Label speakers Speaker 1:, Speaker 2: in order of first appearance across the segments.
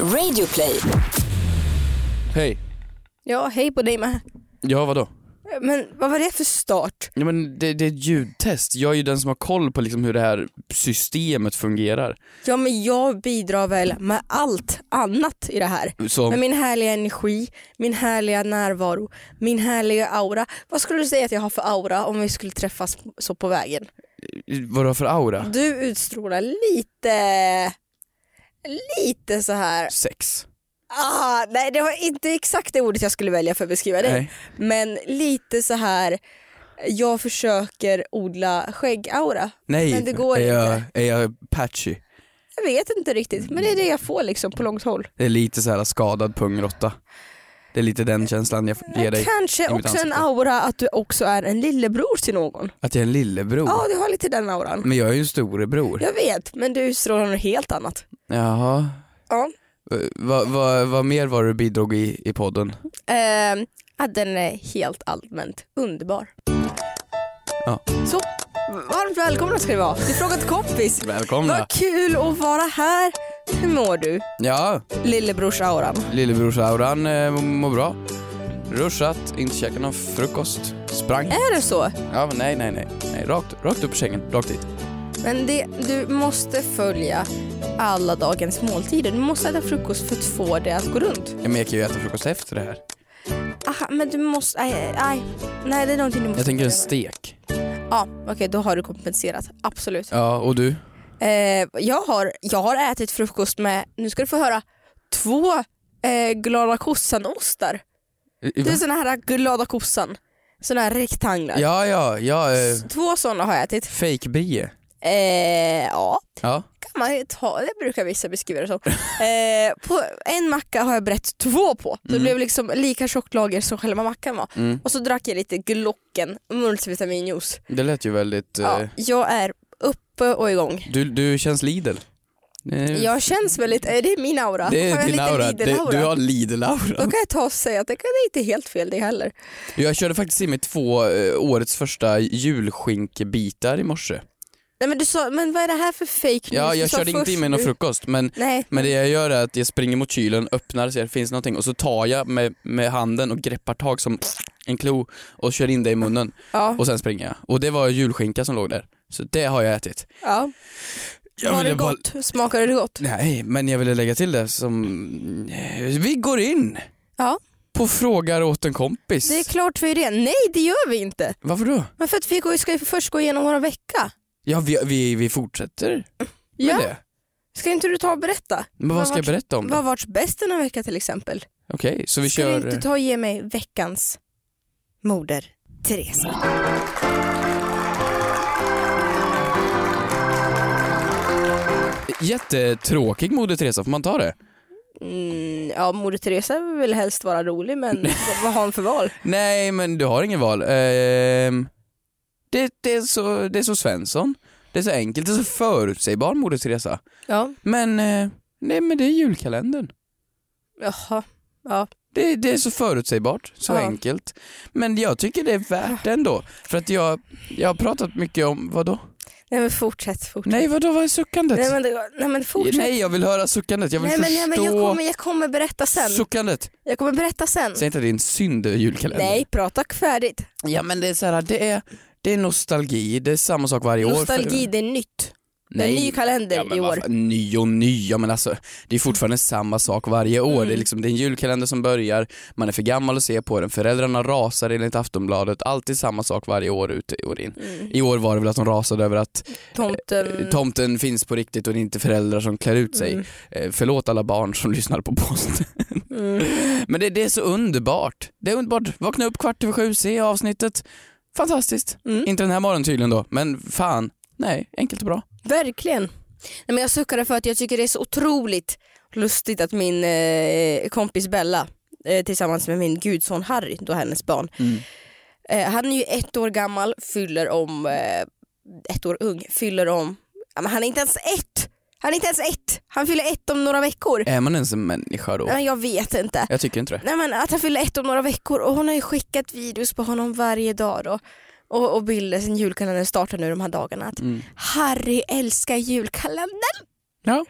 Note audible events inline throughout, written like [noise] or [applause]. Speaker 1: Radioplay.
Speaker 2: Hej.
Speaker 3: Ja, hej på dig med.
Speaker 2: Ja, vadå?
Speaker 3: Men vad var det för start?
Speaker 2: Ja, men det, det är ett ljudtest. Jag är ju den som har koll på liksom hur det här systemet fungerar.
Speaker 3: Ja, men jag bidrar väl med allt annat i det här.
Speaker 2: Så
Speaker 3: Med min härliga energi, min härliga närvaro, min härliga aura. Vad skulle du säga att jag har för aura om vi skulle träffas så på vägen?
Speaker 2: vad du har för aura?
Speaker 3: Du utstrålar lite, lite så här.
Speaker 2: Sex.
Speaker 3: Ah, nej, det var inte exakt det ordet jag skulle välja för att beskriva dig.
Speaker 2: Nej.
Speaker 3: Men lite så här. Jag försöker odla skäggaura.
Speaker 2: Nej.
Speaker 3: Men det går
Speaker 2: är jag,
Speaker 3: inte.
Speaker 2: Är jag patchy?
Speaker 3: Jag vet inte riktigt, men det är det jag får liksom på långt håll.
Speaker 2: Det är lite så här skadad pungråtta. Det är lite den känslan jag ger dig.
Speaker 3: Kanske
Speaker 2: i mitt
Speaker 3: också en
Speaker 2: ansikte. Oh.
Speaker 3: aura att du också är en lillebror till någon.
Speaker 2: Att jag är en lillebror.
Speaker 3: Ja, du har lite den auran.
Speaker 2: Men jag är ju en storebror.
Speaker 3: Jag vet, men du utstrålar något helt annat.
Speaker 2: Jaha.
Speaker 3: Ja.
Speaker 2: Eh, Vad vad- vad mer var det du bidrog i, i podden?
Speaker 3: Ehm, ja, den är helt allmänt underbar.
Speaker 2: Ja.
Speaker 3: Så, varmt välkomna ska ni vara till Fråga till kompis.
Speaker 2: Välkomna.
Speaker 3: Vad kul att vara här. Hur mår du,
Speaker 2: Ja,
Speaker 3: lillebrors-auran?
Speaker 2: lillebrorsauran eh, mår bra. Ruschat, inte käkat någon frukost. Sprang.
Speaker 3: Är det så?
Speaker 2: Ja, men nej, nej, nej. nej rakt, rakt upp i sängen, rakt dit.
Speaker 3: Men det, du måste följa alla dagens måltider. Du måste äta frukost för att få det att gå runt.
Speaker 2: Ja, men jag kan ju äta frukost efter det här.
Speaker 3: Aha, men du måste... Nej, nej, nej det är någonting du måste...
Speaker 2: Jag tänker en
Speaker 3: pröva.
Speaker 2: stek.
Speaker 3: Ja, okej då har du kompenserat. Absolut.
Speaker 2: Ja, och du?
Speaker 3: Eh, jag, har, jag har ätit frukost med, nu ska du få höra, två eh, glada kossan-ostar.
Speaker 2: I- i-
Speaker 3: Du är såna här glada kossan. Såna här rektanglar.
Speaker 2: Ja, ja, ja. Eh,
Speaker 3: S- Två såna har jag ätit.
Speaker 2: Fake-brie.
Speaker 3: Eh, ja,
Speaker 2: Ja.
Speaker 3: kan man ju ta, det brukar vissa beskriva det som. [laughs] Eh, på en macka har jag brett två på. Det blev liksom lika tjockt lager som själva mackan var.
Speaker 2: Mm.
Speaker 3: Och så drack jag lite Glocken multivitaminjuice.
Speaker 2: Det lät ju väldigt... eh,
Speaker 3: Ja, jag är uppe och igång.
Speaker 2: Du, du känns Lidl. Eh,
Speaker 3: Jag känns väldigt, eh, det är min aura.
Speaker 2: Det
Speaker 3: har
Speaker 2: är
Speaker 3: jag
Speaker 2: din
Speaker 3: lite
Speaker 2: aura. Det,
Speaker 3: Lidl-aura?
Speaker 2: du har Lidl-aura.
Speaker 3: Då kan jag ta och säga att det kan- det är inte helt fel det heller.
Speaker 2: Jag körde faktiskt i mig två eh, årets första julskinkbitar i morse.
Speaker 3: Nej men du sa, men vad är det här för fake news?
Speaker 2: Ja,
Speaker 3: Du
Speaker 2: jag
Speaker 3: sa
Speaker 2: körde
Speaker 3: först
Speaker 2: inte i mig någon
Speaker 3: nu-
Speaker 2: frukost, men
Speaker 3: Nej,
Speaker 2: Men det jag gör är att jag springer mot kylen, öppnar, ser finns det någonting och så tar jag med, med handen och greppar tag som en klo och kör in det i munnen
Speaker 3: ja.
Speaker 2: och sen springer jag. Och det var julskinka som låg där. Så det har jag ätit.
Speaker 3: ja.
Speaker 2: Jag
Speaker 3: Var
Speaker 2: ville
Speaker 3: det
Speaker 2: bara-
Speaker 3: gott? Smakade det gott?
Speaker 2: Nej, men jag ville lägga till det som... Vi går in
Speaker 3: Ja,
Speaker 2: på frågar åt en kompis.
Speaker 3: det är klart vi är det. Nej det gör vi inte.
Speaker 2: Varför då?
Speaker 3: Men för att vi går- ska ju först gå igenom våra vecka.
Speaker 2: Ja, vi, vi, vi fortsätter med
Speaker 3: Ja.
Speaker 2: det.
Speaker 3: Ska inte du ta och berätta?
Speaker 2: Men vad,
Speaker 3: Vad
Speaker 2: ska jag
Speaker 3: vart-
Speaker 2: berätta om
Speaker 3: Vad har
Speaker 2: då?
Speaker 3: varit bäst denna vecka till exempel?
Speaker 2: Okej, så vi
Speaker 3: ska
Speaker 2: kör... eh,
Speaker 3: du inte ta och ge mig veckans moder Teresa?
Speaker 2: Jättetråkig Moder Teresa, får man ta det?
Speaker 3: Mm, ja, moder Teresa vill helst vara
Speaker 2: [laughs]
Speaker 3: rolig men vad- vad har hon för val?
Speaker 2: Nej, men du har ingen val. Ehm, det, det, är så, det är så Svensson. Det är så enkelt, det är så förutsägbar Moder Teresa.
Speaker 3: Ja,
Speaker 2: Men, eh, nej, men det är julkalendern.
Speaker 3: jaha. Ja.
Speaker 2: Det, det är så förutsägbart, så
Speaker 3: Ja.
Speaker 2: enkelt. Men jag tycker det är värt det ändå. För att jag, jag har pratat mycket om, vadå?
Speaker 3: Nej men fortsätt, fortsätt.
Speaker 2: Nej, vadå, vad är suckandet?
Speaker 3: Nej men, det, nej, men fortsätt.
Speaker 2: nej, jag vill höra suckandet. Jag vill
Speaker 3: nej, men, nej,
Speaker 2: förstå
Speaker 3: men jag, kommer, jag kommer berätta sen.
Speaker 2: suckandet.
Speaker 3: Jag kommer berätta sen.
Speaker 2: Säg inte att det är en synd över julkalendern.
Speaker 3: Nej, prata färdigt.
Speaker 2: Ja, men det är så här, det är, det är nostalgi. Det är samma sak varje år. för-
Speaker 3: Nostalgi, det är nytt. Det är en ny kalender
Speaker 2: Ja, men
Speaker 3: i
Speaker 2: vad
Speaker 3: år.
Speaker 2: fan, Ny och ny, ja, men alltså, det är fortfarande samma sak varje år.
Speaker 3: Mm.
Speaker 2: Det, är liksom, det är en julkalender som börjar, man är för gammal att se på den, föräldrarna rasar enligt Aftonbladet, alltid samma sak varje år ut i år in.
Speaker 3: Mm.
Speaker 2: I år var det väl att de rasade över att eh,
Speaker 3: Tomten...
Speaker 2: tomten finns på riktigt och det är inte föräldrar som klär ut sig.
Speaker 3: Mm.
Speaker 2: Eh, förlåt alla barn som [laughs] lyssnar på posten.
Speaker 3: Mm,
Speaker 2: men det, det är så underbart. Det är underbart. Vakna upp kvart över sju, se avsnittet. Fantastiskt.
Speaker 3: Mm.
Speaker 2: Inte den här morgonen tydligen då, men fan. Nej, enkelt och bra.
Speaker 3: Verkligen. Nej, men jag suckade för att jag tycker det är så otroligt lustigt att min eh, kompis Bella eh, tillsammans med min gudson Harry, då hennes barn.
Speaker 2: Mm.
Speaker 3: Eh, han är ju ett år gammal, fyller om, eh, ett år ung, fyller om, ja, men han är inte ens ett! Han är inte ens ett! Han fyller ett om några veckor.
Speaker 2: Är man ens en människa då?
Speaker 3: Ja, jag vet inte.
Speaker 2: Jag tycker inte det.
Speaker 3: Nej men att han fyller ett om några veckor och hon har ju skickat videos på honom varje dag då. Och, och bilder sen julkalendern startar nu de här dagarna. Att
Speaker 2: Mm.
Speaker 3: Harry älskar julkalendern.
Speaker 2: Ja.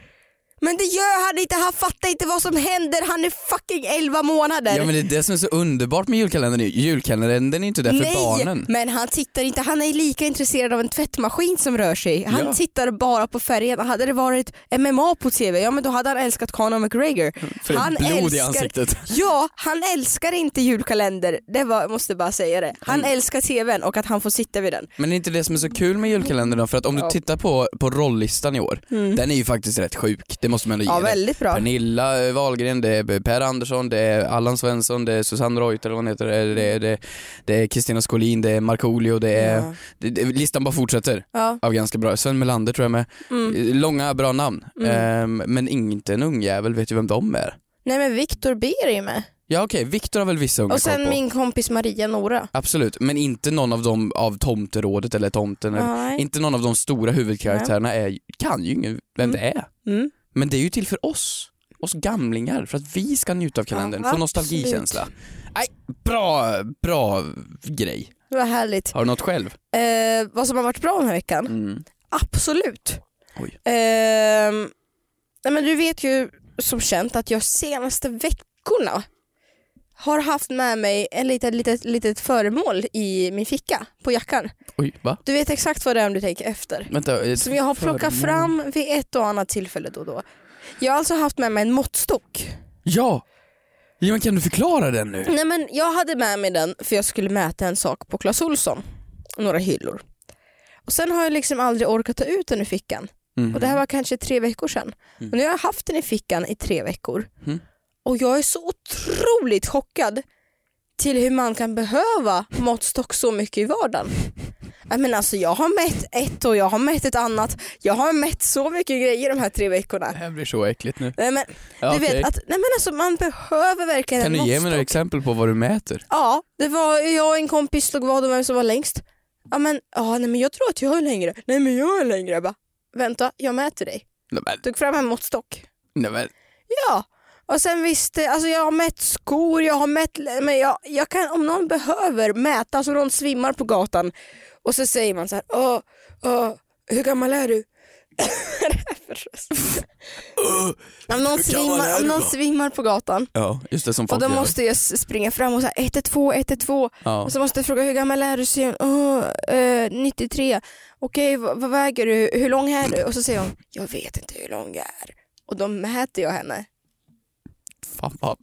Speaker 3: Men det gör han inte, han fattar inte vad som händer, han är fucking 11 månader.
Speaker 2: Ja men det är det som är så underbart med julkalendern ju. Julkalendern är inte där för
Speaker 3: Nej,
Speaker 2: barnen.
Speaker 3: men han tittar inte, han är lika intresserad av en tvättmaskin som rör sig. Han
Speaker 2: Ja.
Speaker 3: tittar bara på färgen. Hade det varit MMA på TV, ja men då hade han älskat Conor McGregor.
Speaker 2: För det
Speaker 3: han
Speaker 2: är blod i
Speaker 3: älskar-
Speaker 2: ansiktet.
Speaker 3: Ja, han älskar inte julkalender. Det var, måste bara säga det. Han
Speaker 2: Mm.
Speaker 3: älskar TVn och att han får sitta vid den.
Speaker 2: Men det är inte det som är så kul med julkalendern då? För att om
Speaker 3: Ja. Mm.
Speaker 2: du tittar på, på rolllistan i år, den är ju faktiskt rätt sjuk. Det måste man ändå
Speaker 3: Ja,
Speaker 2: ge dig.
Speaker 3: väldigt bra.
Speaker 2: Pernilla eh, Wahlgren, det är Per Andersson, det är Allan Svensson, det är Susanne Reuter eller vad hon heter, det är- det är, det är, det är Kristina Skolin, det är Markoolio, det är...
Speaker 3: Ja.
Speaker 2: Det, det, listan bara fortsätter.
Speaker 3: Ja.
Speaker 2: Av ganska bra, Sven Melander tror jag med.
Speaker 3: Mm.
Speaker 2: Eh, Långa bra namn. Ehm, men inte en ungjävel vet ju vem de är.
Speaker 3: Nej men Viktor B är ju med.
Speaker 2: Ja okej, Viktor har väl vissa unga
Speaker 3: Och
Speaker 2: koll på.
Speaker 3: sen min kompis Maria Nora.
Speaker 2: Absolut, men inte någon av dem av Tomterådet eller Tomten. Eller,
Speaker 3: Nej.
Speaker 2: inte någon av de stora huvudkaraktärerna är, kan ju ingen vem det är.
Speaker 3: Mm.
Speaker 2: Men det är ju till för oss, oss gamlingar, för att vi ska njuta av kalendern,
Speaker 3: Ja,
Speaker 2: få nostalgikänsla. Nej, bra, bra grej.
Speaker 3: Vad härligt.
Speaker 2: Har du något själv?
Speaker 3: Eh, vad som har varit bra den här veckan? Absolut.
Speaker 2: Mm. Oj.
Speaker 3: Ehm, nej men du vet ju som känt att jag senaste veckorna har haft med mig en litet, litet, litet föremål i min ficka på jackan.
Speaker 2: Oj, va?
Speaker 3: Du vet exakt vad det är om du tänker efter.
Speaker 2: Vänta. eh, ett
Speaker 3: Som jag har plockat
Speaker 2: föremål.
Speaker 3: fram vid ett och annat tillfälle då och då. Jag har alltså haft med mig en måttstock.
Speaker 2: Ja! ja men kan du förklara den nu?
Speaker 3: Nej men jag hade med mig den för jag skulle mäta en sak på Clas Ohlson. Några hyllor. Och sen har jag liksom aldrig orkat ta ut den ur fickan.
Speaker 2: Mhm.
Speaker 3: Och det här var kanske tre veckor sedan. Och nu har jag haft den i fickan i tre veckor.
Speaker 2: Mm.
Speaker 3: Och jag är så otroligt chockad till hur man kan behöva måttstock så mycket
Speaker 2: [laughs]
Speaker 3: i vardagen. Jag, menar, alltså, jag har mätt ett och jag har mätt ett annat. Jag har mätt så mycket grejer de här tre veckorna.
Speaker 2: Det här blir så äckligt nu.
Speaker 3: Nej, men,
Speaker 2: Ja,
Speaker 3: du
Speaker 2: okej.
Speaker 3: vet, att, nej, men alltså, man behöver verkligen
Speaker 2: kan du
Speaker 3: en
Speaker 2: ge mig
Speaker 3: måttstock.
Speaker 2: några exempel på vad du mäter?
Speaker 3: Ja, det var jag och en kompis slog vad om vem som var längst. Ja men, ja, nej, men jag tror att jag är längre. Nej men jag är längre. Jag bara, vänta, jag mäter dig.
Speaker 2: Nej, men,
Speaker 3: Tog fram en måttstock.
Speaker 2: nej, men.
Speaker 3: Ja. Och sen visst, eh, alltså jag har mätt skor, jag har mätt, men jag, jag kan, om någon behöver mäta, alltså någon svimmar på gatan och så säger man så här, åh, åh, hur gammal är du? [laughs] Vad är det här för röst? om,
Speaker 2: hur
Speaker 3: någon
Speaker 2: gammal är
Speaker 3: svimmar,
Speaker 2: du
Speaker 3: om någon
Speaker 2: då?
Speaker 3: svimmar på gatan
Speaker 2: Ja, just det som
Speaker 3: och
Speaker 2: folk
Speaker 3: då
Speaker 2: gör.
Speaker 3: måste jag s- springa fram och säga 112, 112
Speaker 2: Ja.
Speaker 3: och så måste jag fråga hur gammal är du? Så säger hon, "Åh, eh, 93. Okej, vad, vad väger du? Hur lång är du? Och så säger hon, jag vet inte hur lång jag är. Och då mäter jag henne.
Speaker 2: Fan, vad...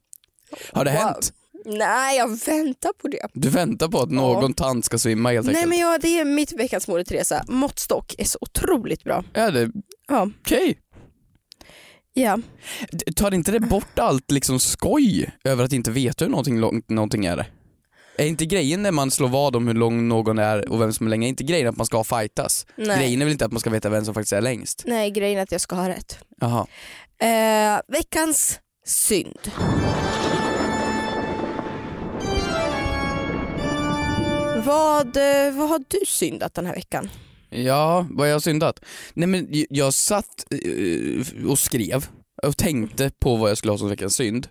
Speaker 2: Har det
Speaker 3: Wow.
Speaker 2: hänt?
Speaker 3: Nej, jag väntar på det.
Speaker 2: Du väntar på att någon tant ska svimma helt
Speaker 3: Nej
Speaker 2: enkelt?
Speaker 3: men jag, det är mitt veckans mode Teresa. Måttstock är så otroligt bra.
Speaker 2: Ja, det...
Speaker 3: Ja.
Speaker 2: Okej.
Speaker 3: Ja.
Speaker 2: D- Tar inte det bort allt liksom skoj över att inte veta hur någonting långt någonting är? Är inte grejen när man slår vad om hur lång någon är och vem som är längre, är inte grejen att man ska fightas?
Speaker 3: Nej.
Speaker 2: Grejen är väl inte att man ska veta vem som faktiskt är längst?
Speaker 3: Nej, grejen är att jag ska ha rätt.
Speaker 2: Jaha.
Speaker 3: Eh, veckans synd. Vad, eh, vad har du syndat den här veckan?
Speaker 2: Ja, vad jag har syndat? Nej men j- jag satt eh, och skrev och tänkte på vad jag skulle ha som veckans synd.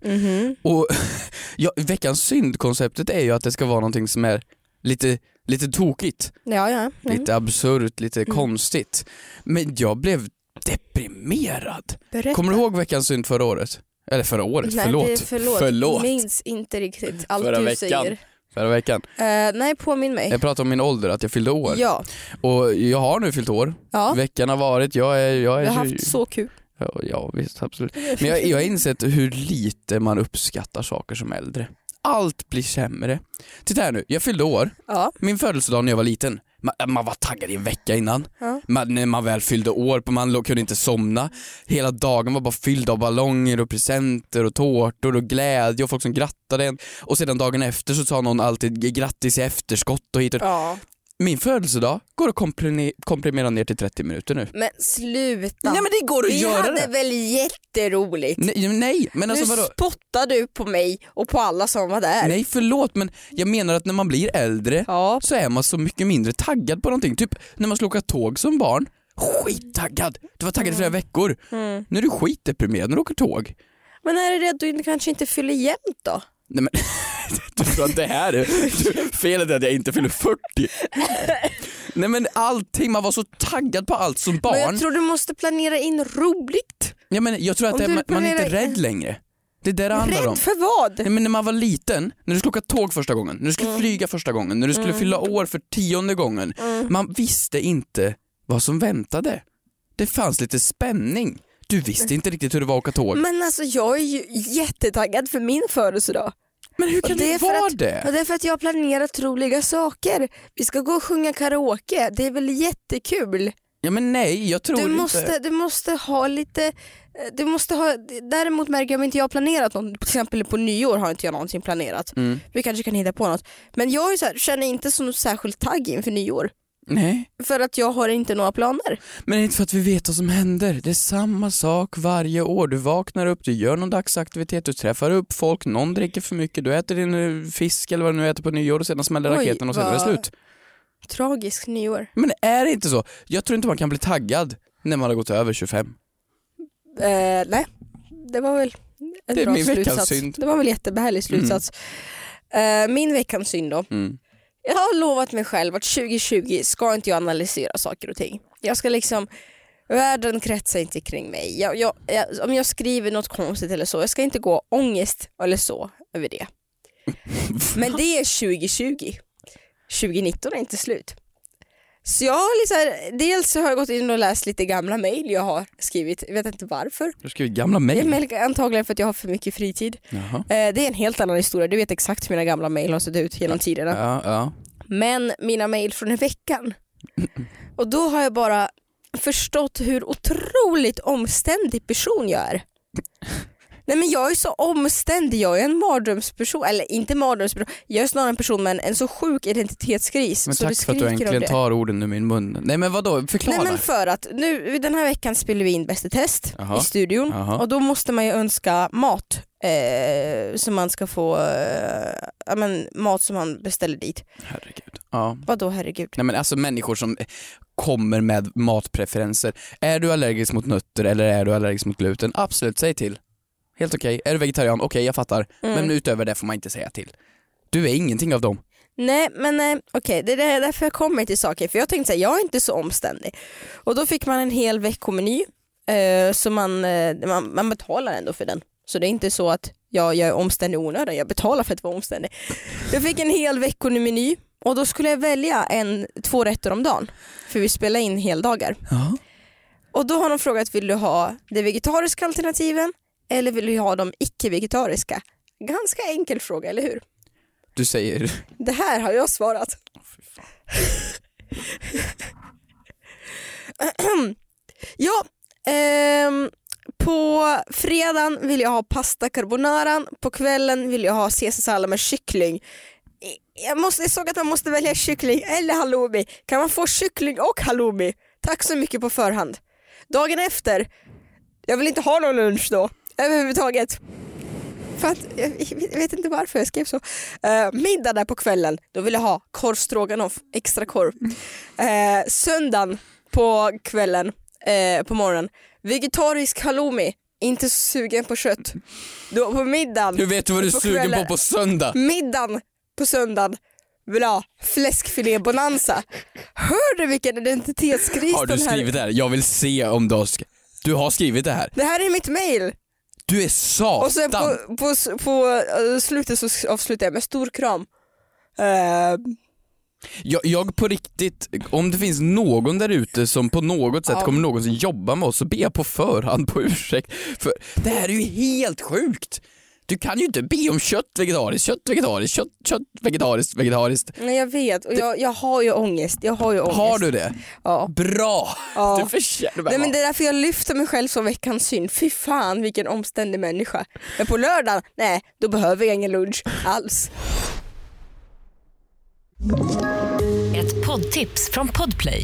Speaker 2: Och [laughs] ja, veckans synd-konceptet är ju att det ska vara någonting som är lite, lite tokigt,
Speaker 3: Ja, ja. Mm.
Speaker 2: lite absurt, lite konstigt. Men jag blev deprimerad.
Speaker 3: Berätta.
Speaker 2: Kommer du ihåg veckans synd förra året? Eller förra året,
Speaker 3: Nej,
Speaker 2: förlåt.
Speaker 3: det är förlåt.
Speaker 2: Förlåt.
Speaker 3: Minns inte riktigt allt
Speaker 2: Förra
Speaker 3: du
Speaker 2: veckan.
Speaker 3: säger.
Speaker 2: Förra veckan.
Speaker 3: Eh, nej, påminn mig.
Speaker 2: Jag pratade om min ålder, att jag fyllde år.
Speaker 3: Ja.
Speaker 2: Och jag har nu fyllt år.
Speaker 3: ja.
Speaker 2: Veckan har varit, jag är... Jag är
Speaker 3: Vi har haft så kul.
Speaker 2: Ja, ja visst, absolut. Men jag, jag har insett hur lite man uppskattar saker som äldre. Allt blir sämre. Titta här nu, jag fyllde år.
Speaker 3: Ja.
Speaker 2: Min födelsedag när jag var liten, äh, man, man var taggad i en vecka innan.
Speaker 3: Ja.
Speaker 2: Man, när man väl fyllde år, på- man låg- kunde inte somna. Hela dagen var bara fylld av ballonger och presenter och tårtor och glädje och folk som grattade en. Och sedan dagen efter så sa någon alltid g- grattis i efterskott och hit och
Speaker 3: ja.
Speaker 2: Min födelsedag går att komprime- komprimera ner till 30 minuter nu.
Speaker 3: Men sluta.
Speaker 2: Nej men det går att
Speaker 3: Vi
Speaker 2: göra
Speaker 3: hade
Speaker 2: det!
Speaker 3: väl jätteroligt.
Speaker 2: Nej, nej, men alltså
Speaker 3: nu
Speaker 2: vadå?
Speaker 3: spottar du på mig och på alla som var där.
Speaker 2: Nej förlåt men jag menar att när man blir äldre
Speaker 3: Ja.
Speaker 2: så är man så mycket mindre taggad på någonting. Typ när man skulle åka tåg som barn, skittaggad! Du var taggad i flera
Speaker 3: Mm.
Speaker 2: veckor. Nu är du skitdeprimerad när du åker tåg. [laughs]
Speaker 3: Men är det det att du kanske inte fyller jämnt då?
Speaker 2: Nej men, du tror att det här är... du- Felet är att jag inte fyller 40.
Speaker 3: [laughs]
Speaker 2: Nej men allting, man var så taggad på allt som
Speaker 3: Men
Speaker 2: barn.
Speaker 3: jag tror du måste planera in roligt.
Speaker 2: Ja, men jag tror att
Speaker 3: Om
Speaker 2: det,
Speaker 3: du
Speaker 2: man, man är inte
Speaker 3: planerar-
Speaker 2: rädd längre. Det är det det handlar om.
Speaker 3: Rädd för vad?
Speaker 2: Nej, Eh, men när man var liten, när du skulle åka tåg första gången, när du
Speaker 3: Mm.
Speaker 2: skulle flyga första gången, när du skulle fylla år för tionde gången.
Speaker 3: Mm.
Speaker 2: Man visste inte vad som väntade. Det fanns lite spänning. Du visste inte riktigt hur det var att åka tåg. Men,
Speaker 3: Men alltså jag är ju jättetaggad för min födelsedag.
Speaker 2: hur
Speaker 3: och
Speaker 2: kan
Speaker 3: det
Speaker 2: det,
Speaker 3: är för
Speaker 2: vara
Speaker 3: att- Och
Speaker 2: det?
Speaker 3: det är för att jag planerar troliga saker. Vi ska gå och sjunga karaoke, det är väl jättekul.
Speaker 2: Ja men nej, jag tror
Speaker 3: Du
Speaker 2: inte.
Speaker 3: måste, du måste ha lite, eh, du måste ha, däremot märker jag om inte jag har planerat något, till exempel på nyår har inte jag någonting planerat.
Speaker 2: Mm.
Speaker 3: Vi kanske kan hitta på något. Men jag är så här, känner inte som särskilt tagg inför nyår.
Speaker 2: Nej,
Speaker 3: För att jag har inte några planer.
Speaker 2: men det är inte för att vi vet vad som händer. Det är samma sak varje år. Du vaknar upp, du gör någon dagsaktivitet, du träffar upp folk, någon dricker för mycket, du äter din eh, fisk eller vad du nu äter på nyår och sedan smäller
Speaker 3: Oj,
Speaker 2: raketen och sen är det
Speaker 3: vad-
Speaker 2: slut.
Speaker 3: Tragisk nyår.
Speaker 2: Men är det inte så? Jag tror inte man kan bli taggad när man har gått över 25.
Speaker 3: Eh, nej, det var väl en
Speaker 2: Det är
Speaker 3: bra
Speaker 2: min veckans
Speaker 3: slutsats.
Speaker 2: synd.
Speaker 3: Det var väl jättebehärlig slutsats. Eh, min veckans synd då.
Speaker 2: Mm.
Speaker 3: Jag har lovat mig själv att 2020 ska inte jag analysera saker och ting. Jag ska liksom, världen kretsar inte kring mig. Jag, jag, jag, om jag skriver något konstigt eller så, jag ska inte gå och ha ångest eller så
Speaker 2: [laughs]
Speaker 3: över det. Men det är 2020. 2019 är inte slut. Så jag har liksom, dels har jag gått in och läst lite gamla mejl jag har skrivit, jag vet inte varför.
Speaker 2: Du skriver gamla
Speaker 3: Det är
Speaker 2: mejl.
Speaker 3: väl antagligen för att jag har för mycket fritid.
Speaker 2: Jaha.
Speaker 3: Eh, det är en helt annan historia, du vet exakt hur mina gamla mejl har sett ut genom tiderna.
Speaker 2: Ja, ja.
Speaker 3: Men mina mejl från
Speaker 2: [laughs]
Speaker 3: i veckan. Och då har jag bara förstått hur otroligt omständig person jag
Speaker 2: [laughs]
Speaker 3: är. Nej men jag är så omständig, jag är en mardrömsperson, eller inte mardrömsperson, jag är snarare en person med en, en så sjuk identitetskris
Speaker 2: Men
Speaker 3: så
Speaker 2: tack
Speaker 3: det
Speaker 2: för att du
Speaker 3: skriker om
Speaker 2: äntligen
Speaker 3: det.
Speaker 2: tar orden ur min mun. Nej men vadå, förklara.
Speaker 3: Nej men för att nu den här veckan spelar vi in Bäst i test
Speaker 2: Jaha.
Speaker 3: i studion
Speaker 2: Jaha.
Speaker 3: och då måste man ju önska mat eh, som man ska få, eh, ja men mat som man beställer dit.
Speaker 2: Herregud. Ja.
Speaker 3: Vadå herregud?
Speaker 2: Nej men alltså människor som eh, kommer med matpreferenser. Är du allergisk mot nötter eller är du allergisk mot gluten? Absolut, säg till. Helt okej. Är du vegetarian? Okej, jag fattar.
Speaker 3: Mm.
Speaker 2: Men utöver det får man inte säga till. Du är ingenting av dem.
Speaker 3: Nej men eh, okej, det är därför jag kommer till saker. För jag tänkte säga, jag är inte så omständig. Och då fick man en hel veckomeny. Eh, så man, eh, man, man betalar ändå för den. Så det är inte så att jag, jag är omständig i onödan, jag betalar för att vara omständig. Jag fick en hel veckomeny och då skulle jag välja en, två rätter om dagen. För vi spelar in heldagar.
Speaker 2: Ja.
Speaker 3: Och då har de frågat, vill du ha de vegetariska alternativen eller vill du ha de icke-vegetariska? Ganska enkel fråga, eller hur?
Speaker 2: Du säger... [laughs]
Speaker 3: Det här har jag svarat. ja, ehm, på fredagen vill jag ha pasta carbonara, på kvällen vill jag ha caesarsallad med kyckling. Jag, måste, jag såg att man måste välja kyckling eller halloumi. Kan man få kyckling och halloumi? Tack så mycket på förhand. Dagen efter, jag vill inte ha någon lunch då överhuvudtaget. För att, jag vet inte varför jag skrev så. Eh, middag där på kvällen, då vill jag ha korv stroganoff, extra korv. Eh, söndagen på kvällen, eh, på morgonen, vegetarisk halloumi, inte så sugen på kött. Då på
Speaker 2: Hur
Speaker 3: middagen,
Speaker 2: vet du vad du är
Speaker 3: På
Speaker 2: sugen på
Speaker 3: kvällen.
Speaker 2: på söndag?
Speaker 3: middagen på söndagen vill jag ha fläskfilé-bonanza. Hör du vilken identitetskris
Speaker 2: Har du
Speaker 3: den här...
Speaker 2: skrivit det här? Jag vill se om du har sk- Du har skrivit det här.
Speaker 3: Det här är mitt mail.
Speaker 2: Du är satan!
Speaker 3: Och sen på, på, på eh, slutet så avslutar jag med stor kram. Eh,
Speaker 2: jag, jag på riktigt, om det finns någon där ute som på något sätt
Speaker 3: Ja.
Speaker 2: kommer någonsin jobba med oss så ber jag på förhand på ursäkt. För det här är ju helt sjukt! Du kan ju inte be om kött vegetariskt, kött vegetariskt, kött, kött vegetariskt, vegetariskt.
Speaker 3: Nej jag vet och jag, jag har ju ångest. Jag har ju ångest.
Speaker 2: Har du det?
Speaker 3: Ja.
Speaker 2: Bra!
Speaker 3: Ja.
Speaker 2: Du förtjänar
Speaker 3: Nej, men det är därför jag lyfter mig själv som veckans synd. Fy fan vilken omständig människa. Men på lördagen, nej då behöver jag ingen lunch alls.
Speaker 1: Ett poddtips från Podplay.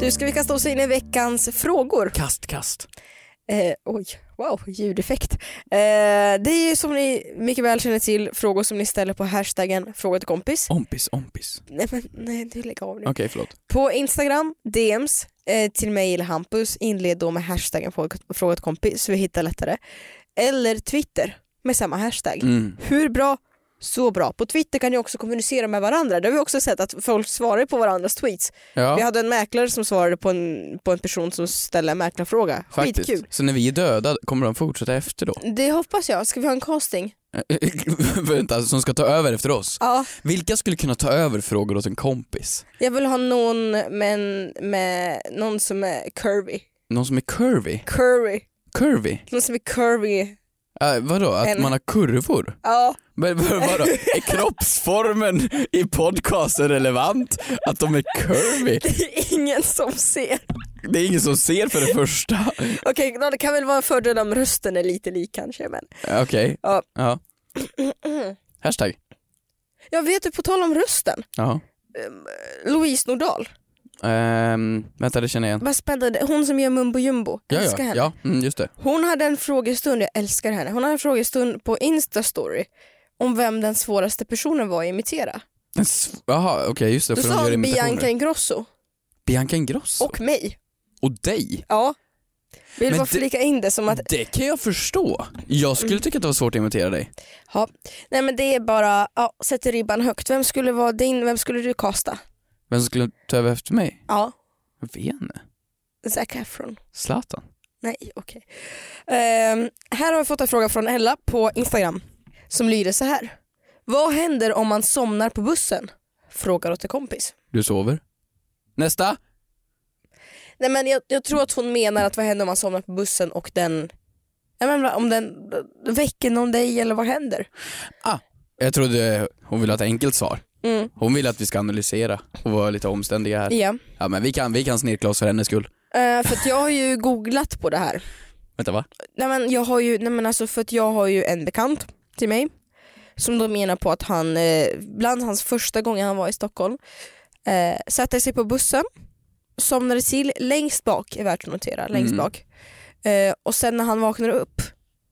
Speaker 3: Du ska vi kasta oss in i veckans frågor?
Speaker 2: Kast, kast.
Speaker 3: Eh, oj, wow, ljudeffekt. Eh, det är ju som ni mycket väl känner till frågor som ni ställer på hashtaggen fråga till kompis.
Speaker 2: Ompis, ompis.
Speaker 3: Nej men nej, du lägg av nu.
Speaker 2: Okej, förlåt.
Speaker 3: På Instagram, DMs eh, till mig eller Hampus, inled då med hashtaggen fråga- fråga till kompis så vi hittar lättare. Eller Twitter med samma hashtag.
Speaker 2: Mm.
Speaker 3: Hur bra? Så bra. På Twitter kan ni också kommunicera med varandra. Det har vi också sett att folk svarar på varandras tweets. Vi
Speaker 2: Ja,
Speaker 3: hade en mäklare som svarade på en, på en person som ställde en mäklarfråga.
Speaker 2: faktiskt.
Speaker 3: Skitkul.
Speaker 2: Så när vi är döda, kommer de fortsätta efter då?
Speaker 3: Det hoppas jag. Ska vi ha en casting?
Speaker 2: Eh, [laughs] Vänta, som ska ta över efter oss?
Speaker 3: Ja.
Speaker 2: Vilka skulle kunna ta över frågor åt en kompis?
Speaker 3: Jag vill ha någon med, en- med någon som är curvy.
Speaker 2: Någon som är curvy?
Speaker 3: Curvy.
Speaker 2: Curvy?
Speaker 3: Någon som är curvy.
Speaker 2: Äh, vadå, att
Speaker 3: En-
Speaker 2: man har kurvor?
Speaker 3: Ja.
Speaker 2: Men vad- vadå, är kroppsformen i podcasten relevant? Att de är curvy?
Speaker 3: [laughs] Det är ingen som ser.
Speaker 2: Det är ingen som ser för det första.
Speaker 3: Okej, nå, det kan väl vara en fördel om rösten är lite lik kanske. Men...
Speaker 2: Eh, Okej.
Speaker 3: Ja.
Speaker 2: Ja. Hashtag.
Speaker 3: Jag vet du, på tal om rösten.
Speaker 2: Ja.
Speaker 3: Louise Nordahl.
Speaker 2: Ehm, vänta, det känner jag igen.
Speaker 3: Vad spännande. Hon som gör Mumbo Jumbo.
Speaker 2: Ja,
Speaker 3: Älskar
Speaker 2: ja,
Speaker 3: henne.
Speaker 2: ja mm, just det.
Speaker 3: Hon hade en frågestund, jag älskar henne. Hon hade en frågestund på Instastory om vem den svåraste personen var att imitera.
Speaker 2: En sv- Jaha, okej, just det.
Speaker 3: Då
Speaker 2: för
Speaker 3: sa
Speaker 2: de gör
Speaker 3: hon
Speaker 2: imitationer.
Speaker 3: Bianca Ingrosso
Speaker 2: Bianca Ingrosso? Och,
Speaker 3: och mig.
Speaker 2: dig?
Speaker 3: Ja. Vill
Speaker 2: Men
Speaker 3: bara
Speaker 2: det-
Speaker 3: flika in det som att,
Speaker 2: Det kan jag förstå. Jag skulle tycka att det var svårt att imitera dig.
Speaker 3: ja. nej men det är bara, ja, sätter ribban högt. Vem skulle vara din, vem skulle du kasta?
Speaker 2: Vem som skulle ta över efter mig?
Speaker 3: Ja,
Speaker 2: Jag vet inte.
Speaker 3: Zac Efron.
Speaker 2: Zlatan?
Speaker 3: Nej, okej. Ehm, här har vi fått en fråga från Ella på Instagram som lyder så här. Vad händer om man somnar på bussen? Frågar åt en kompis.
Speaker 2: Du sover? Nästa!
Speaker 3: Nej men jag, jag tror att hon menar att vad händer om man somnar på bussen och den, jag menar, om den väcker någon dig eller vad händer?
Speaker 2: Jag trodde hon ville ha ett enkelt svar.
Speaker 3: Mm.
Speaker 2: Hon vill att vi ska analysera och vara lite omständiga här.
Speaker 3: Ja.
Speaker 2: Ja men vi kan, vi kan snirkla oss för hennes skull.
Speaker 3: Eh, för att jag har ju googlat på det här.
Speaker 2: Vänta va?
Speaker 3: Nej men jag har ju, nej men alltså för att jag har ju en bekant till mig som då menar på att han, eh, bland hans första gånger han var i Stockholm, eh, satte sig på bussen, somnade till längst bak, är värt att notera, längst
Speaker 2: Mm.
Speaker 3: bak. Eh, och sen när han vaknar upp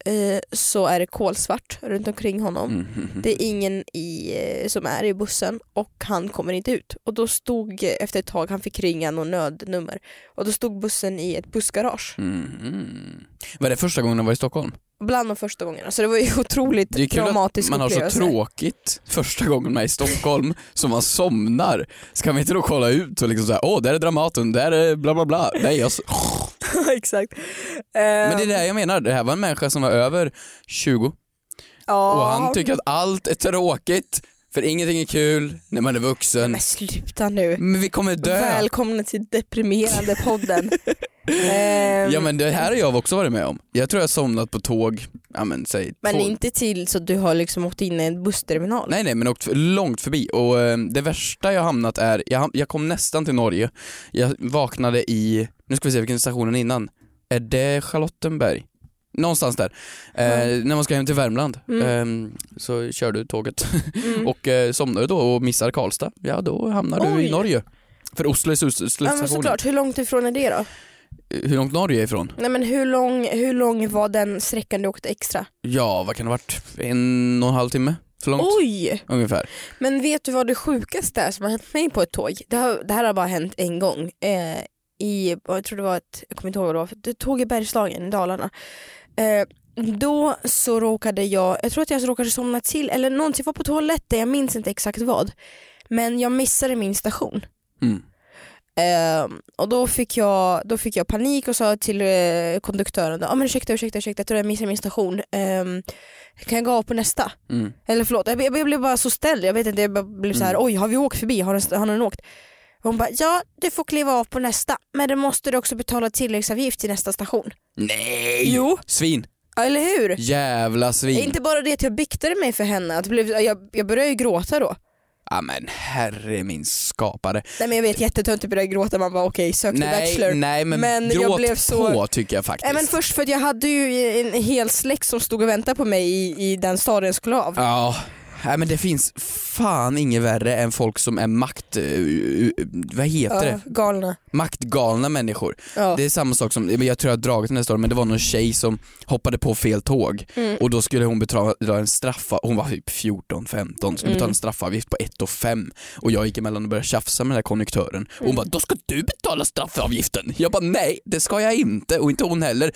Speaker 3: eh, så är det kolsvart runt omkring honom.
Speaker 2: Mm, mm, mm.
Speaker 3: Det är ingen i, eh, som är i bussen och han kommer inte ut. Och då stod eh, efter ett tag, han fick ringa något nödnummer och då stod bussen i ett bussgarage.
Speaker 2: Mm, mm. Var det första gången hon var i Stockholm?
Speaker 3: Bland de första gångerna. Så det var ju [laughs] otroligt
Speaker 2: Det är kul att
Speaker 3: traumatisk
Speaker 2: man har så
Speaker 3: upplevelse. [laughs]
Speaker 2: tråkigt första gången man är i Stockholm [laughs] som man somnar. Ska vi inte då kolla ut och liksom såhär, åh där är Dramaten, där är bla bla bla. Nej, jag... s-
Speaker 3: Exakt. Ehm,
Speaker 2: Men det är det här jag menar, det här var en människa som var över 20 och han tycker att allt är tråkigt för ingenting är kul när man är vuxen.
Speaker 3: Men sluta nu.
Speaker 2: Men vi kommer dö.
Speaker 3: Välkomna till deprimerande
Speaker 2: [laughs]
Speaker 3: podden.
Speaker 2: Ja
Speaker 3: Ehm, men
Speaker 2: men det här har jag också varit med om. Jag tror jag har somnat på tåg, ja men säg två-
Speaker 3: inte till så att du har liksom åkt in i en bussterminal.
Speaker 2: Nej nej men åkt för- långt förbi och eh, det värsta jag hamnat är, jag, ham- jag kom nästan till Norge, jag vaknade i, nu ska vi se vilken stationen innan, är det Charlottenberg? Någonstans där.
Speaker 3: Mm.
Speaker 2: Eh, när man ska hem till Värmland eh, så kör du tåget [laughs]
Speaker 3: Mm.
Speaker 2: och eh, somnar du då och missar Karlstad, ja då hamnar du
Speaker 3: Oj.
Speaker 2: i Norge. För Oslo är slu-
Speaker 3: ja, men
Speaker 2: slutstationen.
Speaker 3: såklart. Hur långt ifrån är det då?
Speaker 2: Hur långt Norge är ifrån?
Speaker 3: Nej men hur lång, hur lång var den sträckan du åkte extra?
Speaker 2: Ja, vad kan det ha varit? En och en halv timme? För långt?
Speaker 3: Oj!
Speaker 2: Ungefär.
Speaker 3: Men vet du vad det sjukaste är som har hänt mig på ett tåg? Det, har, det här har bara hänt en gång. Eh, i, jag tror det var ett, jag kommer inte ihåg vad det var, för ett tåg i Bergslagen i Dalarna. Eh, då så råkade jag, jag tror att jag råkade somna till eller någonting, jag var på toaletten, jag minns inte exakt vad. Men jag missade min station.
Speaker 2: Mm.
Speaker 3: Ehm, och då fick, jag, då fick jag panik och sa till eh, konduktören, då, ah, men ursäkta, ursäkta, ursäkta, jag tror jag missade min station. Ehm, kan jag gå av på nästa?
Speaker 2: Mm.
Speaker 3: Eller förlåt, jag, jag, jag blev bara så ställd. Jag vet inte, jag bara blev så här, oj har vi åkt förbi? Har den, har den åkt? Och hon bara, ja du får kliva av på nästa men då måste du också betala tilläggsavgift till nästa station.
Speaker 2: Nej!
Speaker 3: Jo.
Speaker 2: Svin!
Speaker 3: Ja, eller hur?
Speaker 2: Jävla svin!
Speaker 3: Inte bara det att jag biktade mig för henne, att det blev, jag, jag började ju gråta då.
Speaker 2: Ja men herre min skapare.
Speaker 3: Nej men jag vet jättetöntigt började gråta, man bara okej sök till Bachelor.
Speaker 2: Nej, nej men,
Speaker 3: Men jag
Speaker 2: gråt
Speaker 3: blev så-
Speaker 2: på tycker jag faktiskt.
Speaker 3: Nej, men först för att jag hade ju en hel släkt som stod och väntade på mig i, i den staden jag skulle av.
Speaker 2: Ja, Nej men det finns fan inget värre än folk som är makt... eh, eh, Vad heter
Speaker 3: Ja,
Speaker 2: det?
Speaker 3: galna.
Speaker 2: Maktgalna människor.
Speaker 3: Ja.
Speaker 2: Det är samma sak som, jag tror jag har dragit den här storyn, men det var någon tjej som hoppade på fel tåg och då skulle hon betala betala en straffa, hon var typ 14-15, skulle betala en straffavgift på 1 och 5 och jag gick emellan och började tjafsa med den här konduktören och hon bara “då ska du betala straffavgiften”. Jag bara “nej, det ska jag inte” och inte hon heller.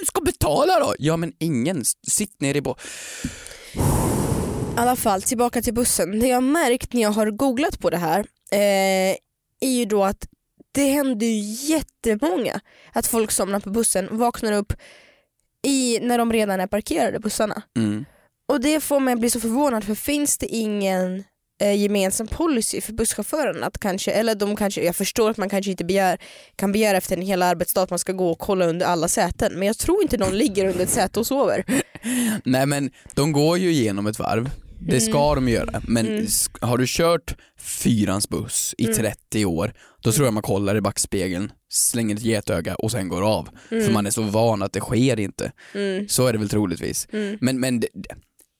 Speaker 2: “Du ska betala då!” Ja men ingen, S- sitt ner i bå...
Speaker 3: I alla fall, tillbaka till bussen. Det jag har märkt när jag har googlat på det här eh, är ju då att det händer ju jättemånga att folk somnar på bussen, vaknar upp i, när de redan är parkerade bussarna.
Speaker 2: Mm.
Speaker 3: Och det får mig att bli så förvånad för finns det ingen eh, gemensam policy för busschauffören att kanske, eller de kanske, jag förstår att man kanske inte begär, kan begära efter en hel arbetsdag att man ska gå och kolla under alla säten men jag tror inte någon ligger under ett säte och sover.
Speaker 2: Nej men de går ju igenom ett varv, det
Speaker 3: Mm.
Speaker 2: ska de göra, men sk- har du kört fyrans buss
Speaker 3: Mm.
Speaker 2: i 30 år, då tror jag man kollar i backspegeln, slänger ett getöga och sen går av. För
Speaker 3: Mm.
Speaker 2: man är så van att det sker inte. Så är det väl troligtvis.
Speaker 3: mm,
Speaker 2: Men, men det, det-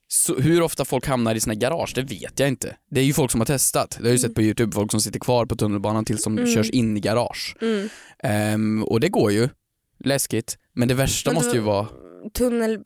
Speaker 2: så hur ofta folk hamnar i sina garage, det vet jag inte. Det är ju folk som har testat. Det har jag ju
Speaker 3: Mm.
Speaker 2: sett på YouTube, folk som sitter kvar på tunnelbanan tills de körs in i garage.
Speaker 3: mm.
Speaker 2: Ehm, och det går ju. Läskigt. Men det värsta
Speaker 3: Men då-
Speaker 2: måste ju vara
Speaker 3: Tunnel, eh,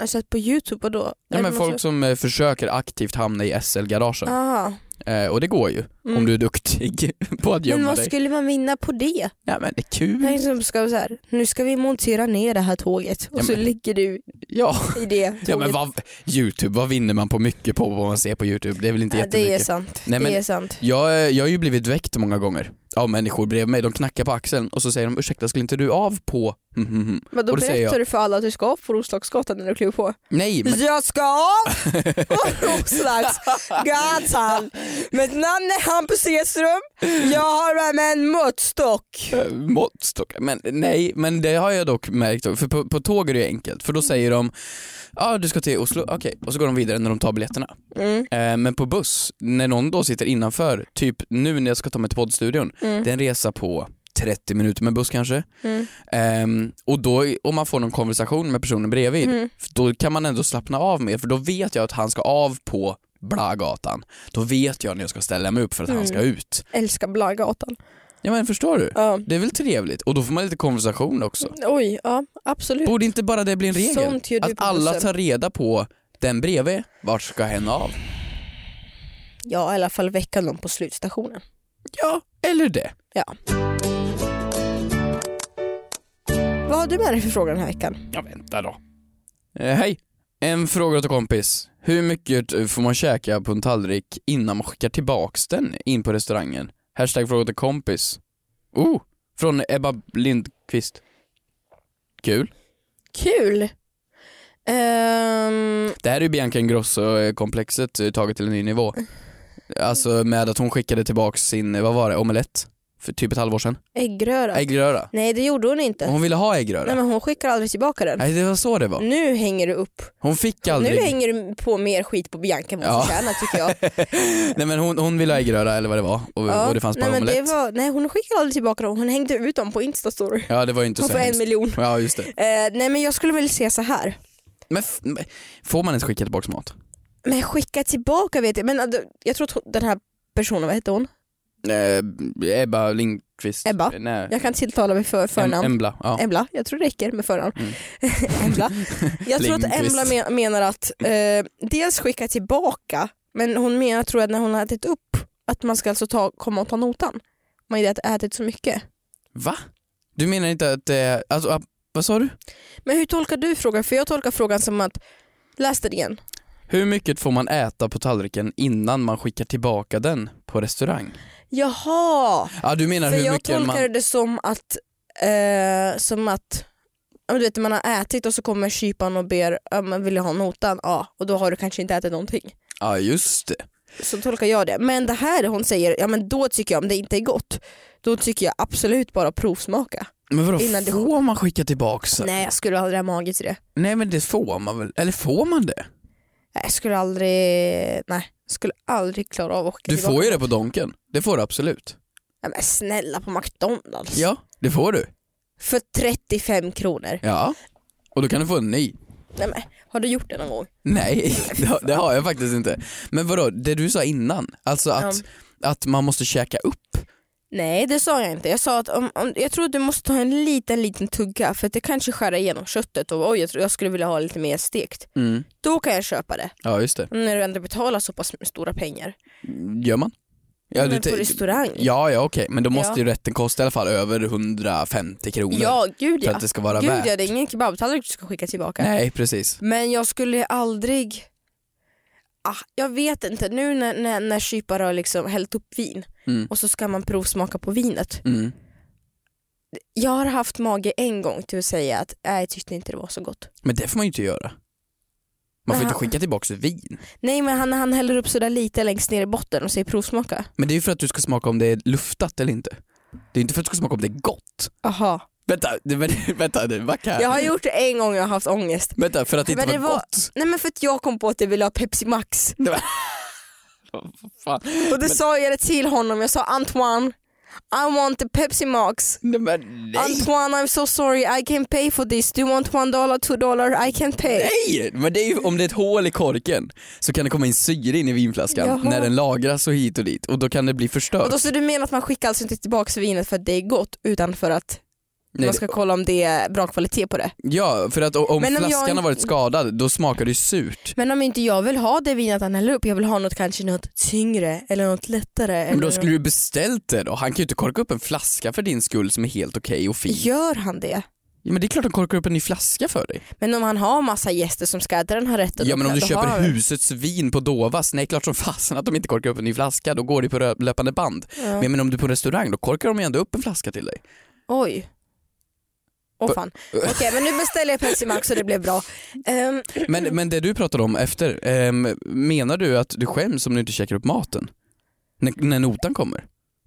Speaker 3: alltså på youtube och då?
Speaker 2: Ja, men folk som eh, försöker aktivt hamna i SL-garagen.
Speaker 3: Aha.
Speaker 2: Eh, och det går ju, om du är duktig [laughs] på att
Speaker 3: Mm. Men
Speaker 2: gömma
Speaker 3: vad
Speaker 2: dig.
Speaker 3: skulle man vinna på det?
Speaker 2: Ja men det är kul.
Speaker 3: Mm. Som ska vara så här, nu ska vi montera ner det här tåget och
Speaker 2: Ja,
Speaker 3: så
Speaker 2: men-
Speaker 3: ligger du
Speaker 2: Ja.
Speaker 3: i det
Speaker 2: [laughs]
Speaker 3: tåget.
Speaker 2: ja men vad, Youtube, vad vinner man på mycket på vad man ser på Youtube? Det är väl inte
Speaker 3: Ja,
Speaker 2: jättemycket.
Speaker 3: det är sant.
Speaker 2: Nej, men-
Speaker 3: det är sant.
Speaker 2: Jag, eh, jag har ju blivit väckt många gånger av människor bredvid mig. De knackar på axeln och så säger de ursäkta skulle inte du av på... Mm, mm, mm."
Speaker 3: Men då
Speaker 2: Och då säger
Speaker 3: berättar du för alla att du ska av på Roslagsgatan när du kliver på.
Speaker 2: Nej
Speaker 3: [laughs]
Speaker 2: men
Speaker 3: Jag ska av
Speaker 2: [laughs]
Speaker 3: på Roslagsgatan! Mitt namn är Hampus Edström, jag har med mig en måttstock.
Speaker 2: Eh, måttstockar. Men nej, men det har jag dock märkt. För på, på tåg är det ju enkelt. För då säger de, ja ah, du ska till Oslo, okej. Och så går de vidare när de tar biljetterna.
Speaker 3: Mm.
Speaker 2: Eh, men på buss, när någon då sitter innanför, typ nu när jag ska ta mig till poddstudion,
Speaker 3: Mm.
Speaker 2: det är en resa på 30 minuter med buss kanske. Ehm, och då om man får någon konversation med personen bredvid,
Speaker 3: Mm.
Speaker 2: för då kan man ändå slappna av mer för då vet jag att han ska av på Blagatan. Då vet jag när jag ska ställa mig upp för att
Speaker 3: Mm.
Speaker 2: han ska ut.
Speaker 3: Älskar Blagatan.
Speaker 2: Ja men förstår du?
Speaker 3: Ja.
Speaker 2: Det är väl trevligt? Och då får man lite konversation också.
Speaker 3: Oj, ja absolut.
Speaker 2: Borde inte bara det bli en regel?
Speaker 3: Sånt gör du
Speaker 2: Att
Speaker 3: på
Speaker 2: alla
Speaker 3: bussen.
Speaker 2: tar reda på den bredvid, vart ska hen av?
Speaker 3: Ja i alla fall väcka någon på slutstationen.
Speaker 2: Ja, eller det.
Speaker 3: Ja. Vad har du med dig för fråga den här veckan?
Speaker 2: Ja, vänta då. Eh, hej! En fråga till kompis. Hur mycket får man käka på en tallrik innan man skickar tillbaks den in på restaurangen? Hashtag fråga till kompis. Oh! Från Ebba Lindqvist. Kul.
Speaker 3: Kul! Ehm,
Speaker 2: Det här är ju Bianca Ingrosso-komplexet eh, taget till en ny nivå. Alltså med att hon skickade tillbaks sin, eh, vad var det, omelett? För typ ett halvår sedan.
Speaker 3: äggröra.
Speaker 2: Äggröra.
Speaker 3: Nej det gjorde hon inte.
Speaker 2: Och Hon ville ha
Speaker 3: Nej
Speaker 2: äggröra.
Speaker 3: men hon skickar aldrig tillbaka den.
Speaker 2: Nej det var så det var.
Speaker 3: Nu hänger du upp.
Speaker 2: Hon fick
Speaker 3: Nu
Speaker 2: aldrig.
Speaker 3: hänger du på mer skit på Bianca än vad hon
Speaker 2: Ja.
Speaker 3: förtjänar tycker jag.
Speaker 2: Nej men hon, hon ville ha äggröra eller vad det var [laughs] och,
Speaker 3: Ja.
Speaker 2: och det fanns bara
Speaker 3: nej, men
Speaker 2: omelett.
Speaker 3: det var, nej hon skickar aldrig tillbaka dem, hon hängde ut dem på instastory.
Speaker 2: Ja det var ju inte
Speaker 3: Hon
Speaker 2: så
Speaker 3: får en
Speaker 2: hemskt.
Speaker 3: miljon.
Speaker 2: Ja just det.
Speaker 3: Eh, nej men jag skulle väl säga så här.
Speaker 2: Men f- men får man inte skicka tillbaks mat?
Speaker 3: Men skicka tillbaka vet jag, men eh, jag tror att hon- den här personen, vad hette hon?
Speaker 2: Eh, Ebba Lindqvist.
Speaker 3: Ebba?
Speaker 2: Eh, Nej.
Speaker 3: Jag kan tilltala mig för
Speaker 2: Em-
Speaker 3: förnamn.
Speaker 2: Embla. Ja. Mm.
Speaker 3: Embla, jag tror det räcker med förnamn. [laughs] Embla. Jag tror att
Speaker 2: Lindqvist.
Speaker 3: Embla men, menar att eh, dels skicka tillbaka, men hon menar tror jag när hon har ätit upp att man ska alltså ta, komma och ta notan. Man har ju ätit så mycket.
Speaker 2: Va? Du menar inte att, eh, alltså, ah, vad sa du?
Speaker 3: Men hur tolkar du frågan? För jag tolkar frågan som att, läs den igen.
Speaker 2: Hur mycket får man äta på tallriken innan man skickar tillbaka den på restaurang?
Speaker 3: Jaha!
Speaker 2: Ja du menar
Speaker 3: För
Speaker 2: hur
Speaker 3: jag
Speaker 2: mycket
Speaker 3: tolkar
Speaker 2: man...
Speaker 3: det som att, eh, som att ja, men du vet, man har ätit och så kommer kyparen och ber ja, men vill jag ha notan? Ja, och då har du kanske inte ätit någonting.
Speaker 2: Ja just det.
Speaker 3: Så tolkar jag det. Men det här hon säger, ja men då tycker jag om det inte är gott, då tycker jag absolut bara provsmaka.
Speaker 2: Men vadå
Speaker 3: Innan det-
Speaker 2: får man skicka tillbaks? Nej.
Speaker 3: Nej jag skulle aldrig ha mage till det.
Speaker 2: Nej men det får man väl? Eller får man det?
Speaker 3: Nej, Jag skulle aldrig, nej, jag skulle aldrig klara av att åka
Speaker 2: Du
Speaker 3: tillbaka.
Speaker 2: får ju det på Donken. Det får du absolut.
Speaker 3: Nej, men snälla på McDonalds.
Speaker 2: Ja, det får du.
Speaker 3: För 35 kronor.
Speaker 2: Ja. Och då kan du få en ny.
Speaker 3: Nej men, har du gjort det någon gång?
Speaker 2: Nej, det, har- det har jag faktiskt inte. Men vadå, det du sa innan, alltså att, att man måste käka upp.
Speaker 3: Nej det sa jag inte. Jag sa att om, om, jag tror att du måste ta en liten liten tugga för att det kanske skär igenom köttet och oj jag, tror, jag skulle vilja ha lite mer stekt.
Speaker 2: Mm.
Speaker 3: Då kan jag köpa det.
Speaker 2: Ja just det.
Speaker 3: När du ändå betalar så pass stora pengar.
Speaker 2: Gör man? Ja,
Speaker 3: men
Speaker 2: du
Speaker 3: på
Speaker 2: te-
Speaker 3: restaurang.
Speaker 2: ja, ja okej, men då måste
Speaker 3: Ja.
Speaker 2: ju rätten kosta i alla fall över 150 kronor.
Speaker 3: Ja, gud
Speaker 2: För
Speaker 3: ja.
Speaker 2: att det ska vara
Speaker 3: Gud
Speaker 2: värt.
Speaker 3: ja, det är ingen kebabtallrik du ska skicka tillbaka.
Speaker 2: Nej precis.
Speaker 3: Men jag skulle aldrig... Ah, jag vet inte, nu när, när, när kypare har liksom hällt upp vin
Speaker 2: Mm.
Speaker 3: och så ska man provsmaka på vinet.
Speaker 2: Mm.
Speaker 3: Jag har haft mage en gång till att säga att "Nej, jag tyckte inte det var så gott.
Speaker 2: Men det får man ju inte göra. Man får
Speaker 3: Men
Speaker 2: inte
Speaker 3: han-
Speaker 2: skicka tillbaka vin.
Speaker 3: Nej men han, han häller upp sådär lite längst ner i botten och säger provsmaka.
Speaker 2: Men det är ju för att du ska smaka om det är luftat eller inte. Det är inte för att du ska smaka om det är gott.
Speaker 3: Aha.
Speaker 2: Vänta, det- men- vänta nu, backa här.
Speaker 3: Jag har gjort det en gång och jag har haft ångest.
Speaker 2: Vänta, för att det inte
Speaker 3: Men
Speaker 2: var,
Speaker 3: det var-
Speaker 2: gott?
Speaker 3: Nej men för att jag kom på att jag ville ha Pepsi
Speaker 2: [laughs]
Speaker 3: Max.
Speaker 2: Nej, men- Vad fan.
Speaker 3: Och det sa jag det till honom, jag sa Antoine, I want the Pepsi Max.
Speaker 2: Nej, men nej,
Speaker 3: Antoine I'm so sorry I can't pay for this. Do you want one dollar, two dollar? I can't pay.
Speaker 2: nej! Men det är ju, om det är ett hål i korken så kan det komma in syre in i vinflaskan
Speaker 3: Jaha.
Speaker 2: när den lagras och hit och dit och då kan det bli förstört.
Speaker 3: Och då så du menar att man skickar alltså inte tillbaka vinet för att det är gott utan för att
Speaker 2: nej,
Speaker 3: man ska kolla om det är bra kvalitet på det.
Speaker 2: Ja, för att o- om
Speaker 3: Men om jag
Speaker 2: flaskan har
Speaker 3: inte-
Speaker 2: varit skadad då smakar det ju surt.
Speaker 3: Men om inte jag vill ha det vinet han häller upp, jag vill ha något kanske något tyngre eller något lättare.
Speaker 2: Men
Speaker 3: Eller
Speaker 2: då skulle du beställt det då. Han kan ju inte korka upp en flaska för din skull som är helt okej och fin.
Speaker 3: något- Gör han det?
Speaker 2: Ja, men det är klart de korkar upp en ny flaska för dig.
Speaker 3: Men om han har massa gäster som ska äta den här rätten
Speaker 2: Ja men om
Speaker 3: då
Speaker 2: du
Speaker 3: har
Speaker 2: köper
Speaker 3: han-
Speaker 2: husets vin på Dovas, nej klart som fasen att de inte korkar upp en ny flaska, då går det på rö- löpande band.
Speaker 3: Ja.
Speaker 2: Men, men om du är på restaurang, då korkar de ju ändå upp en flaska till dig.
Speaker 3: Oj. Åh fan. Okej men nu beställer jag Pepsi Max och det blev bra. Ehm,
Speaker 2: Men, men det du pratade om efter, ehm, menar du att du skäms om du inte käkar upp maten? När, när notan kommer?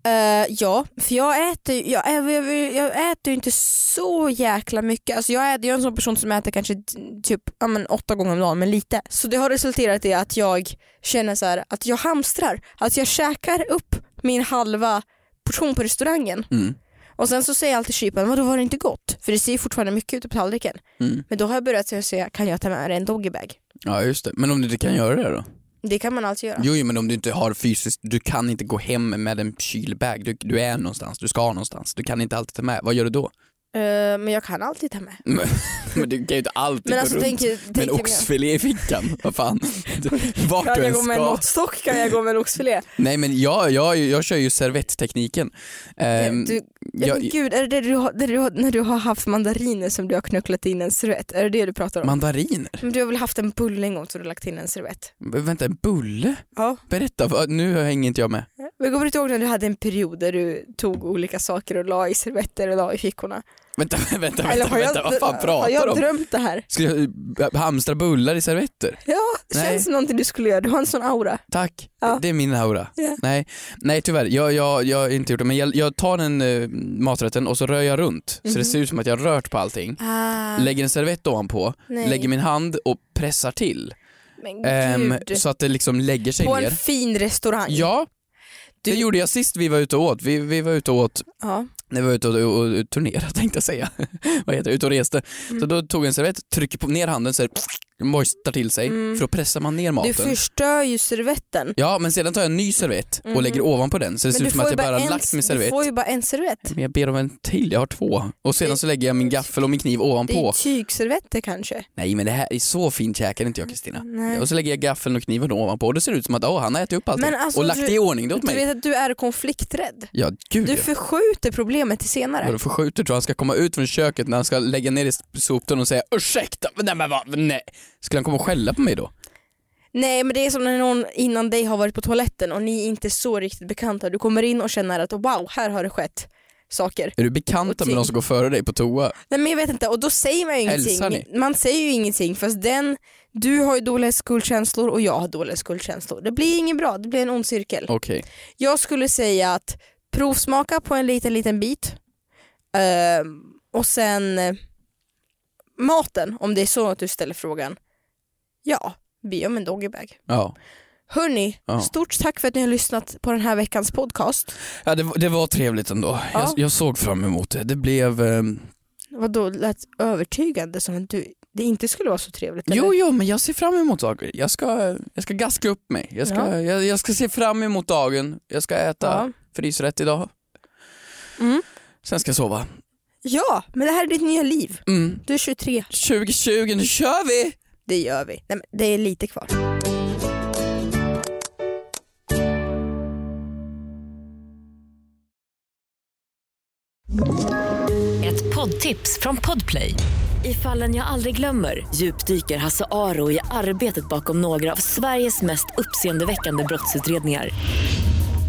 Speaker 3: Eh, ja, för jag äter, ju- jag, jag, jag, jag äter ju inte så jäkla mycket. Alltså jag, äter, jag är en sån person som äter kanske t- typ ja, men åtta gånger om dagen, men lite. Så det har resulterat i att jag känner så här, att jag hamstrar. Att jag käkar upp min halva portion på restaurangen.
Speaker 2: Mm.
Speaker 3: Och sen så säger jag alltid kyparen, vadå var det inte gott? För det ser ju fortfarande mycket ut på tallriken.
Speaker 2: Mm.
Speaker 3: Men då har jag börjat säga- säga, kan jag ta med en doggybag?
Speaker 2: Ja just det, men om du inte kan göra det då?
Speaker 3: Det kan man alltid göra.
Speaker 2: Jo jo, men om du inte har fysiskt, du kan inte gå hem med en kylbag, du, du är någonstans, du ska någonstans, du kan inte alltid ta med, vad gör du då? [laughs]
Speaker 3: Eh, men jag kan alltid ta med.
Speaker 2: Men, men du kan ju inte alltid
Speaker 3: Men
Speaker 2: gå
Speaker 3: alltså
Speaker 2: runt
Speaker 3: tänk,
Speaker 2: med en
Speaker 3: tänk
Speaker 2: oxfilé i fickan, vad fan. Vart
Speaker 3: Kan
Speaker 2: du
Speaker 3: [laughs] jag
Speaker 2: än
Speaker 3: gå med en
Speaker 2: ska.
Speaker 3: måttstock kan jag gå med en oxfilé.
Speaker 2: Nej men jag, jag, jag kör ju servetttekniken. [laughs] Ehm,
Speaker 3: du, ja,
Speaker 2: jag-
Speaker 3: men gud, är det, det, du har, det du har, när du har haft mandariner som du har knucklat in en servett? Är det det du pratar om?
Speaker 2: mandariner?
Speaker 3: Men du har väl haft en bulle en gång som du har lagt in en servett?
Speaker 2: V- Vänta, en bulle?
Speaker 3: Ja.
Speaker 2: Berätta, vad- nu hänger inte jag med.
Speaker 3: Men kommer du inte ihåg när du hade en period där du tog olika saker och la i servetter och la
Speaker 2: [laughs]
Speaker 3: i fickorna?
Speaker 2: Vänta, vänta, vänta, vänta vad fan
Speaker 3: Har
Speaker 2: pratar
Speaker 3: jag
Speaker 2: du om?
Speaker 3: drömt det här?
Speaker 2: Ska jag eh, hamstra bullar i servetter?
Speaker 3: Ja, det
Speaker 2: Nej.
Speaker 3: känns som någonting du skulle göra. Du har en sån aura.
Speaker 2: Tack,
Speaker 3: Ja.
Speaker 2: det är min aura.
Speaker 3: Ja.
Speaker 2: Nej, nej tyvärr, jag, jag, jag har inte gjort det. Men jag, jag tar den eh, maträtten och så rör jag runt så det ser ut som att jag har rört på allting.
Speaker 3: Mhm. Ah,
Speaker 2: Lägger en servett ovanpå,
Speaker 3: Nej.
Speaker 2: lägger min hand och pressar till.
Speaker 3: men
Speaker 2: Ehm,
Speaker 3: gud.
Speaker 2: så att det liksom lägger sig
Speaker 3: På
Speaker 2: ner.
Speaker 3: en fin restaurang.
Speaker 2: Ja, det
Speaker 3: Du-
Speaker 2: gjorde jag sist vi var ute och åt. Vi, vi var ute och åt,
Speaker 3: Ja.
Speaker 2: när vi var ute och, och, och turnerade [laughs] tänkte jag säga. Vad heter det? Ute och reste. Så
Speaker 3: Mm.
Speaker 2: då tog jag en servett, trycker på, ner handen så här, moistar till sig för då pressar man ner maten.
Speaker 3: Mm. Du förstör ju servetten.
Speaker 2: Ja men sedan tar jag en ny servett och lägger ovanpå den så det ser
Speaker 3: Mm. du
Speaker 2: ut som att
Speaker 3: får ju
Speaker 2: jag bara
Speaker 3: en-
Speaker 2: lagt min
Speaker 3: Du
Speaker 2: servett. Mm,
Speaker 3: får ju bara en servett.
Speaker 2: Men jag ber om en till, jag har två. Och sedan så lägger jag min gaffel och min kniv
Speaker 3: Det är ju
Speaker 2: ovanpå.
Speaker 3: tygservetter kanske.
Speaker 2: Nej men det här är så fint käkar inte jag Kristina.
Speaker 3: Mm, Nej.
Speaker 2: Och så lägger jag gaffeln och kniven ovanpå och det ser ut som att åh han har ätit upp allting
Speaker 3: Men alltså,
Speaker 2: och lagt
Speaker 3: du-
Speaker 2: det i ordning det åt
Speaker 3: Du
Speaker 2: mig.
Speaker 3: vet att du är konflikträdd.
Speaker 2: Ja gud
Speaker 3: Du
Speaker 2: ja.
Speaker 3: förskjuter problemet till senare.
Speaker 2: Vadå förskjuter tror jag han ska komma ut från köket när han ska lägga ner i soptunnan och säga ursäkta, nej men vad, nej. Skulle han komma och skälla på mig då?
Speaker 3: Nej men det är som när någon innan dig har varit på toaletten och ni är inte så riktigt bekanta. Du kommer in och känner att wow, här har det skett saker.
Speaker 2: Är du bekanta med de som går före dig på toa?
Speaker 3: Nej men jag vet inte, och då säger man ju
Speaker 2: Hälsar ni?
Speaker 3: ingenting. Man säger ju ingenting fast den, du har ju dåliga skuldkänslor och jag har dåliga skuldkänslor. Det blir inget bra, det blir en ond cirkel.
Speaker 2: Okej.
Speaker 3: Jag skulle säga att provsmaka på en liten, liten bit. Ehm, och sen eh, maten, om det är så att du ställer frågan. Ja, be om en doggybag.
Speaker 2: Ja.
Speaker 3: Hörni,
Speaker 2: Ja.
Speaker 3: stort tack för att ni har lyssnat på den här veckans podcast.
Speaker 2: ja det, var- det var trevligt ändå.
Speaker 3: Ja.
Speaker 2: Jag, jag såg fram emot det. Det blev ehm,
Speaker 3: Vadå, lät övertygande som att du, det inte skulle vara så trevligt?
Speaker 2: Jo,
Speaker 3: eller?
Speaker 2: jo, men jag ser fram emot saker. Jag ska, jag ska gaska upp mig. Jag ska,
Speaker 3: Ja.
Speaker 2: jag, jag ska se fram emot dagen. Jag ska äta
Speaker 3: Ja.
Speaker 2: frysrätt idag.
Speaker 3: Mm.
Speaker 2: Sen ska jag sova.
Speaker 3: ja, men det här är ditt nya liv.
Speaker 2: Mm.
Speaker 3: Du är 23.
Speaker 2: 2020, nu kör vi!
Speaker 3: Det gör vi. Nej, men det är lite kvar.
Speaker 1: Ett poddtips från Podplay. I fallen jag aldrig glömmer djupdyker Hasse Aro i arbetet bakom några av Sveriges mest uppseendeväckande brottsutredningar.